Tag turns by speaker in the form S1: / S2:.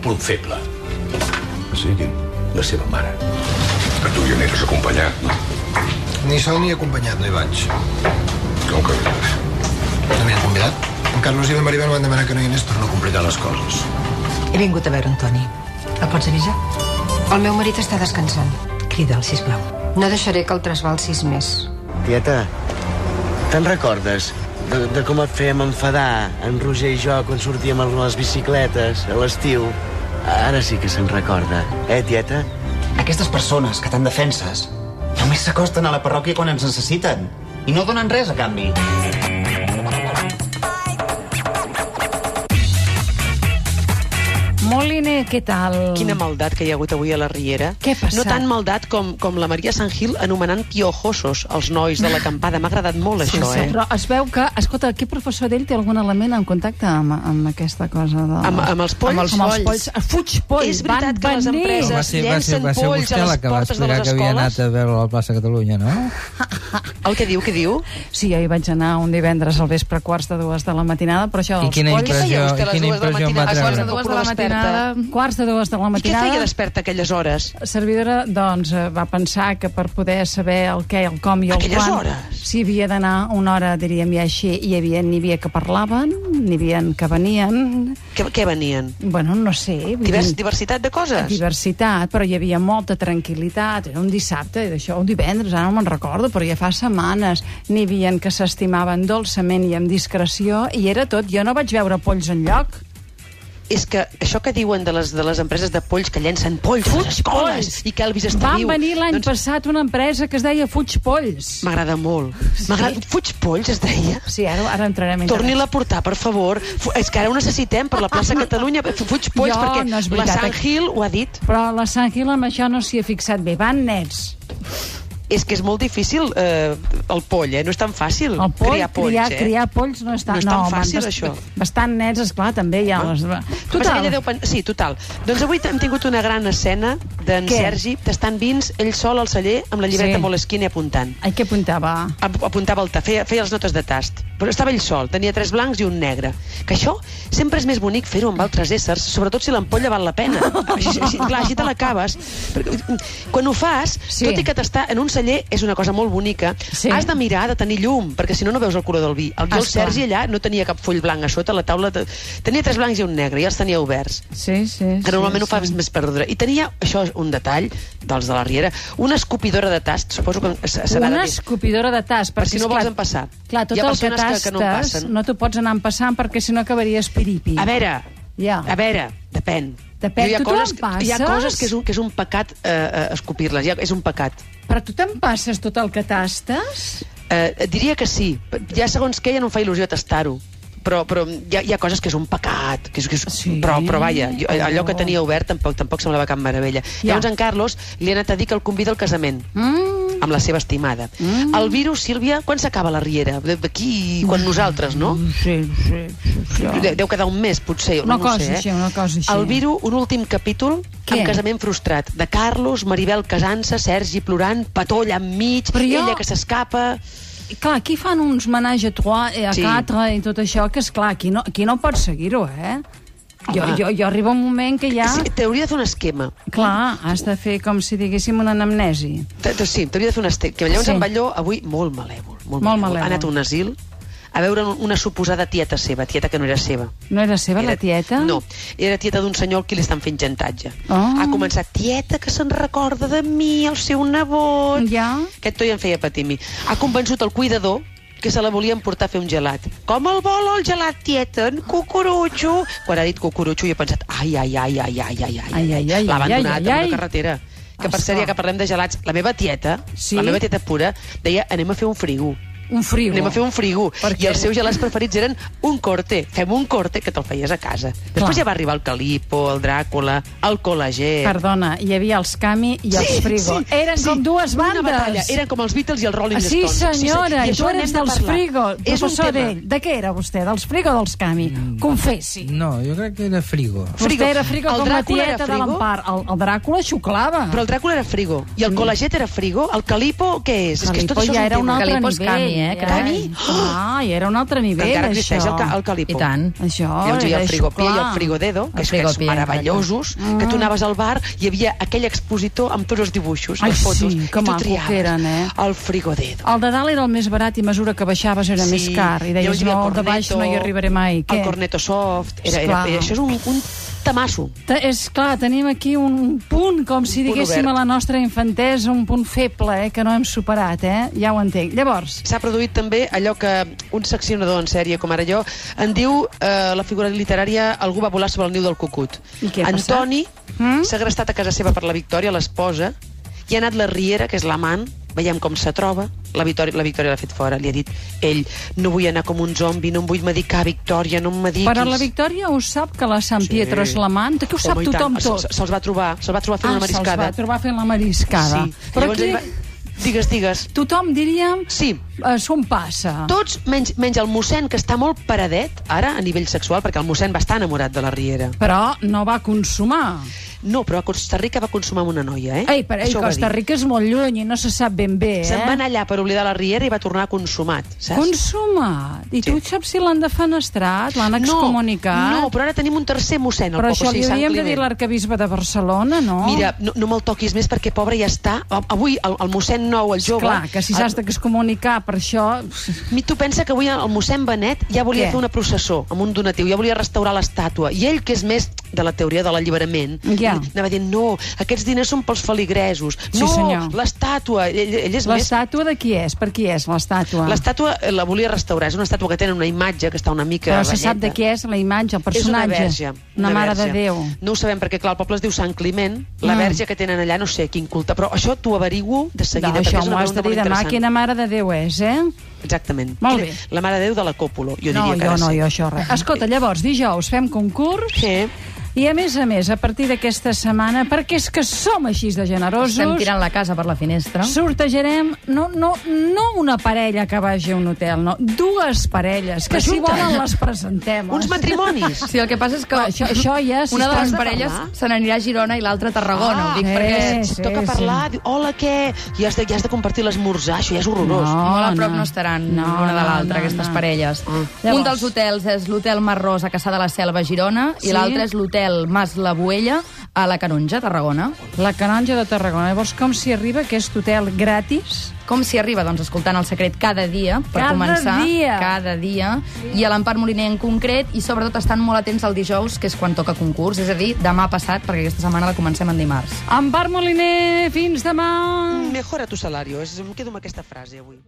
S1: punt feble.
S2: Sí, diu.
S1: La seva mare.
S3: A tu hi aniràs acompanyat, no?
S2: Ni sol ni acompanyat no hi vaig.
S3: Com que vindràs?
S2: No m'hi han convidat. En Carlos i la Maribel van demanar que no hi anés per no complicar les coses.
S4: He vingut a veure en Toni. El pots avisar?
S5: El meu marit està descansant.
S4: Crida'l, sisplau.
S5: No deixaré que el trasbalsis més.
S6: Tieta, te'n recordes de, de com et fèiem enfadar en Roger i jo quan sortíem amb les bicicletes a l'estiu? Ara sí que se'n recorda, eh, tieta?
S7: Aquestes persones que tant defenses només s'acosten a la parròquia quan ens necessiten i no donen res a canvi.
S8: Moliner, què tal?
S9: Quina maldat que hi ha hagut avui a la Riera.
S8: Què ha passat?
S9: No tan maldat com, com la Maria Sant Gil anomenant piojosos els nois de l'acampada. M'ha agradat molt
S8: Sí,
S9: això,
S8: sí,
S9: eh?
S8: Però es veu que, escolta, aquest professor d'ell té algun element en contacte amb, amb aquesta cosa de...
S9: Amb- amb els polls?
S8: Amb els, amb els polls. Ah, Fuig polls,
S9: És veritat
S8: van
S9: que les
S8: venir.
S9: empreses
S10: Va ser, va ser,
S9: llencen
S10: va ser
S9: polls
S10: vostè
S9: a
S10: la
S9: les
S10: que va
S9: portes de
S10: explicar
S9: les
S10: que havia anat
S9: escoles.
S10: a veure la plaça Catalunya, no?
S9: El que diu, que diu?
S8: Sí, jo hi vaig anar un divendres al vespre a quarts de dues de la matinada, però això...
S10: I
S8: dels
S10: quina
S8: polls-
S9: Què
S10: impressió,
S9: feia vostè a
S10: i
S9: les
S10: quina
S9: dues del
S10: impressió em va
S9: matinada?
S10: treure?
S9: A
S8: Quarts
S9: quarts de dues de la matinada?
S8: de dues de la
S9: I què feia
S8: matinada...
S9: desperta a aquelles hores?
S8: servidora doncs, eh, va pensar que per poder saber el què, el com i el
S9: Aquelles
S8: quan
S9: hores.
S8: s'hi havia d'anar una hora, diríem ja així i hi havia, n'hi havia que parlaven n'hi havia que venien
S9: Què, què venien?
S8: bueno, no sé vull
S9: Divers,
S8: dir-
S9: diversitat de coses?
S8: diversitat, però hi havia molta tranquil·litat, era un dissabte i d'això un divendres, ara no me'n recordo, però ja fa setmanes n'hi havia que s'estimaven dolçament i amb discreció i era tot, jo no vaig veure polls en lloc.
S9: És que això que diuen de les, de les empreses de polls que llencen polls a les escoles i que Elvis està
S8: Van
S9: viu...
S8: venir l'any
S9: doncs,
S8: passat una empresa que es deia Fuig Polls.
S9: M'agrada molt. M'agrada... Fuig polls, es deia?
S8: Sí, ara, ara entrarem en
S9: Torni-la a portar, per favor. Fu- És que ara ho necessitem per la plaça Catalunya. Fuig polls,
S8: Jo,
S9: perquè
S8: no és
S9: la
S8: veritat. eh.
S9: Sant Gil ho ha dit.
S8: Però la Sant Gil amb això no s'hi ha fixat bé. Van nets.
S9: És que és molt difícil eh, el poll, eh? No és tan fàcil
S8: El poll,
S9: criar polls,
S8: criar,
S9: eh?
S8: criar polls no és tan,
S9: No és tan
S8: home,
S9: fàcil,
S8: bast-
S9: això.
S8: Bastant nets, esclar, també hi ha... Les...
S9: Total. Ella deu pen... Sí, total. Doncs avui hem tingut una gran escena d'en
S8: Què?
S9: Sergi tastant vins, ell sol al celler, amb la llibreta
S8: Sí.
S9: sí. Moleskine apuntant.
S8: Ai, què apuntava?
S9: Ap- apuntava el ta, feia, feia les notes de tast. Però estava ell sol, tenia tres blancs i un negre. Que això sempre és més bonic fer-ho amb altres éssers, sobretot si l'ampolla val la pena. Així, així, clar, així te l'acabes. Perquè, mm, Quan ho fas,
S8: Sí.
S9: sí. tot i que tastar en un celler és una cosa molt bonica,
S8: Sí.
S9: sí. has de mirar de tenir llum, perquè si no, no veus el color del vi. El, jo, el
S8: Esclar.
S9: Sergi allà no tenia cap full blanc a sota, la taula... De... Tenia tres blancs i un negre, i els tenia oberts
S8: Sí, sí.
S9: que normalment
S8: sí,
S9: ho fa
S8: sí.
S9: més perdre. I tenia, això és un detall dels de la Riera, una escopidora de tast, suposo que s- serà
S8: una
S9: de dir.
S8: escopidora de tas perquè
S9: Per si no
S8: esclar,
S9: vols empassar.
S8: clar, tot
S9: Hi ha
S8: el que
S9: persones que-
S8: tastes
S9: que no empassen.
S8: no t'ho pots anar empassant perquè si no acabaries piripi
S9: A veure,
S8: Ja.
S9: a veure, depèn.
S8: Depèn,
S9: Jo hi ha
S8: tu te
S9: coses,
S8: l'empasses?
S9: hi ha coses que és un, que és un pecat eh, eh, escopir-les, hi ha- és un pecat.
S8: però tu t'empasses tot el que tastes?
S9: Eh, et diria que sí, ja segons què ja no em fa il·lusió tastar-ho. Però, però hi, ha, hi ha coses que és un pecat, que és, que és...
S8: Sí.
S9: però, però vaja, jo, eh, allò que
S8: Oh.
S9: tenia obert tampoc, tampoc semblava cap meravella.
S8: Ja.
S9: Llavors en Carlos li ha anat a dir que el convida al casament.
S8: Mm,
S9: amb la seva estimada. Mm. El virus, Sílvia, quan s'acaba la Riera? De- D'aquí, quan nosaltres, no?
S8: sí, sí, sí, sí.
S9: De- Deu quedar un mes, potser.
S8: Una
S9: no ho
S8: cosa
S9: sé, eh?
S8: així, una cosa així.
S9: El virus, un últim capítol,
S8: Què?
S9: amb casament frustrat. De Carlos, Maribel casant-se, Sergi plorant, Patoll enmig,
S8: Però jo-
S9: ella que s'escapa...
S8: Clar, aquí fan uns menatge a trois, eh, a sí.
S9: Sí.
S8: quatre i tot això, que és clar, aquí no, aquí no pots seguir-ho, eh? Jo,
S9: Home.
S8: jo, jo arriba un moment que ja...
S9: Sí, T'hauria de fer un esquema.
S8: Clar, has de fer com si diguéssim una anamnesi.
S9: T- t- Sí, t'hauria de fer un esquema. Llavors
S8: Sí.
S9: sí. en Balló, avui, molt malèvol.
S8: Molt
S9: Molt, malèvol.
S8: malèvol.
S9: Ha anat a un asil a veure una suposada tieta seva, tieta que no era seva.
S8: No era seva, la
S9: Era-
S8: tieta?
S9: No, era tieta d'un senyor al qui li estan fent xantatge.
S8: Oh.
S9: Ha començat, tieta, que se'n recorda de mi, el seu nebot...
S8: Ja.
S9: Aquest toi em feia patir a mi. Ha convençut el cuidador que se la volien portar a fer un gelat. Com el vol el gelat, tieta? En cucurutxo. Quan ha dit cucurutxo, jo he pensat, ai, ai, ai, ai, ai, ai,
S8: Ai, ai, ai,
S9: L'ha
S8: ai, ai,
S9: abandonat en
S8: ai.
S9: una carretera. Que per
S8: Ostres.
S9: ser, ja que parlem de gelats, la meva tieta,
S8: Sí?
S9: la meva tieta pura, deia, anem a fer un frigo.
S8: Un frigo.
S9: Anem a fer un frigo.
S8: Per
S9: I
S8: què?
S9: els seus gelats preferits eren un corte. Fem un corte que te'l feies a casa. Després
S8: Clar.
S9: ja va arribar el Calipo, el Dràcula, el Col·lagé...
S8: Perdona, hi havia els Cami i els Frigo. Eren com dues
S9: Una batalla.
S8: bandes. Ah,
S9: Eren com els Beatles i els Rolling
S8: Sí,
S9: Stones.
S8: senyora,
S9: I
S8: i
S9: això
S8: tu
S9: n'hem
S8: eres
S9: de
S8: dels
S9: parlar.
S8: Frigo.
S9: És un
S8: Professor
S9: tema. Mm.
S8: d'ell, de què era vostè? Dels Frigo o dels Cami? Confessi.
S10: No, jo crec que era frigo.
S9: Frigo.
S8: Vostè era Frigo
S9: El
S8: com la
S9: Dràcula era
S8: tieta de
S9: Frigo?
S8: l'Empar. El, el Dràcula xuclava.
S9: Però el Dràcula era Frigo. I el Col·laget era Frigo. El Calipo, què és? és que
S8: Calipo
S9: tot això
S8: ja
S9: és un
S8: era un
S9: tema.
S8: altre
S4: Calipos
S8: nivell.
S4: Cami,
S1: eh?
S9: Ja. Dani?
S8: Ah, i era un altre nivell,
S9: Encara
S8: això.
S9: existeix el, ca- el
S1: I
S9: calipo.
S1: tant.
S8: Això,
S9: Llavors hi havia el
S8: era
S9: frigopié i el
S8: clar.
S9: frigodedo, que
S1: El
S9: és que
S1: frigopié,
S9: són meravellosos, que
S8: Ah.
S9: tu anaves al bar i hi havia aquell expositor amb tots els dibuixos,
S8: Ai,
S9: les fotos,
S8: sí, que
S9: i tu
S8: maco
S9: triaves
S8: que eren, eh?
S9: el frigodedo.
S8: El de dalt era el més barat i a mesura que baixaves era més car. I
S9: llavors
S8: deies,
S9: hi havia
S8: no,
S9: el
S8: el de baix
S9: corneto,
S8: no hi arribaré mai.
S9: El corneto soft, era, era,
S8: Esclar.
S9: era, això és un, un tamasso.
S8: Te- És clar, tenim aquí un punt, com si
S9: punt
S8: diguéssim a
S9: obert.
S8: la nostra infantesa, un punt feble, eh, que no hem superat, eh? Ja ho entenc. Llavors,
S9: S'ha produït també allò que un seccionador en sèrie, com ara jo, en diu eh, la figura literària Algú va volar sobre el niu del cucut.
S8: I què ha passat?
S9: Antoni
S8: Mm?
S9: s'ha agrestat a casa seva per la Victòria, l'esposa, i ha anat la Riera, que és l'amant, veiem com se troba, la Victòria la Victòria l'ha fet fora, li ha dit ell, no vull anar com un zombi, no em vull medicar, Victòria, no em mediquis.
S8: però la Victòria ho sap que la Sant
S9: Sí.
S8: Pietro és l'amant, que ho sap
S9: Home, i
S8: tothom
S9: tant. Se-
S8: tot.
S9: se- Se'ls va trobar, se'ls va trobar fent
S8: Ah,
S9: una
S8: se'ls va
S9: mariscada.
S8: trobar fent la mariscada.
S9: Sí.
S8: Però
S9: Llavors
S8: aquí
S9: ell va... Digues, digues.
S8: tothom diria
S9: Sí,
S8: eh, s'ho passa.
S9: Tots, menys, menys el mossèn, que està molt paradet, ara, a nivell sexual, perquè el mossèn va estar enamorat de la Riera.
S8: Però no va consumar.
S9: No, però a Costa Rica va consumar amb una noia, eh?
S8: Ei, per ell,
S9: Això ho va
S8: Costa
S9: dir.
S8: Rica és molt lluny i no se sap ben bé, eh?
S9: Se'n va anar allà per oblidar la Riera i va tornar consumat, saps?
S8: Consumat. I tu
S9: Sí.
S8: saps si l'han defenestrat, l'han excomunicat?
S9: No, però ara tenim un tercer mossèn al
S8: Però
S9: poble,
S8: això
S9: o sigui,
S8: li
S9: Sant
S8: hauríem de
S9: Climent.
S8: dir a l'arcabisbe de Barcelona, no?
S9: Mira, no, no me'l toquis més perquè, pobre, ja està... A- Avui, el, el mossèn nou, el jove...
S8: Clar, que si s'has de comunicar per això...
S9: Mi, tu pensa que avui el mossèn Benet ja volia
S8: Què?
S9: fer una processó amb un donatiu, ja volia restaurar l'estàtua. I ell, que és més de la teoria de l'alliberament,
S8: Ja.
S9: anava dient, no, aquests diners són pels feligresos.
S8: Sí,
S9: no,
S8: senyor.
S9: l'estàtua. Ell, ell és més...
S8: L'estàtua de qui és? Per qui és l'estàtua?
S9: L'estàtua eh, la volia restaurar. És una estàtua que tenen una imatge que està una mica...
S8: Però se sap
S9: ratlleta.
S8: de qui és la imatge, el personatge.
S9: És una verge.
S8: Una mare
S9: verge.
S8: de Déu.
S9: No ho sabem, perquè clar, el poble es diu Sant Climent, la
S8: Mm.
S9: verge que tenen allà, no sé quin culte, però això t'ho averiguo de seguida,
S8: no,
S9: perquè
S8: Doncs això
S9: és
S8: m'ho
S9: una
S8: has de
S9: pregunta
S8: dir
S9: molt
S8: demà,
S9: interessant.
S8: quina mare de Déu és, eh?
S9: Exactament.
S8: Molt bé.
S9: La Mare de Déu de la Còpolo, jo
S8: no,
S9: diria que
S8: jo
S9: ha de
S8: no,
S9: ser.
S8: jo això res. Escolta, llavors, dijous fem concurs.
S9: Sí.
S8: I a més a més, a partir d'aquesta setmana, perquè és que som així de generosos...
S1: Estem tirant la casa per la finestra.
S8: Sortejarem no, no, no una parella que vagi a un hotel, no, dues parelles, que si
S1: Juntes.
S8: volen les presentem.
S9: Uns matrimonis.
S1: Sí, el que passa és que
S8: Clar, això- això ja, si
S1: una de
S8: has
S1: les
S8: de
S1: parelles
S9: parlar.
S1: se n'anirà a Girona i l'altra a Tarragona.
S9: Ah,
S1: ho dic
S8: eh,
S1: perquè
S8: sí,
S9: Toca parlar, diu, hola, què? I has de, i has de compartir l'esmorzar, això ja és horrorós.
S8: No.
S1: molt a prop no, estaran
S8: No,
S1: l'una de
S8: no,
S1: l'altra,
S8: no,
S1: aquestes
S8: no.
S1: parelles.
S8: Llavors.
S1: Un dels hotels és l'hotel Mar Rosa, a Caçà de la Selva, a Girona,
S8: Sí.
S1: i l'altre és l'hotel Mas la Boella, a la Canonja, a Tarragona.
S8: La Canonja de Tarragona. Llavors, com s'hi arriba a aquest hotel gratis?
S1: Com s'hi arriba? Doncs escoltant el secret cada dia, per
S8: Cada
S1: començar.
S8: dia.
S1: Cada dia. I a l'Empar Moliner en concret, i sobretot estan molt atents al dijous, que és quan toca concurs, és a dir, demà passat, perquè aquesta setmana la comencem en dimarts.
S8: Amb Bar Moliner, fins demà!
S9: Mejora tu salario, és, em quedo amb aquesta frase avui.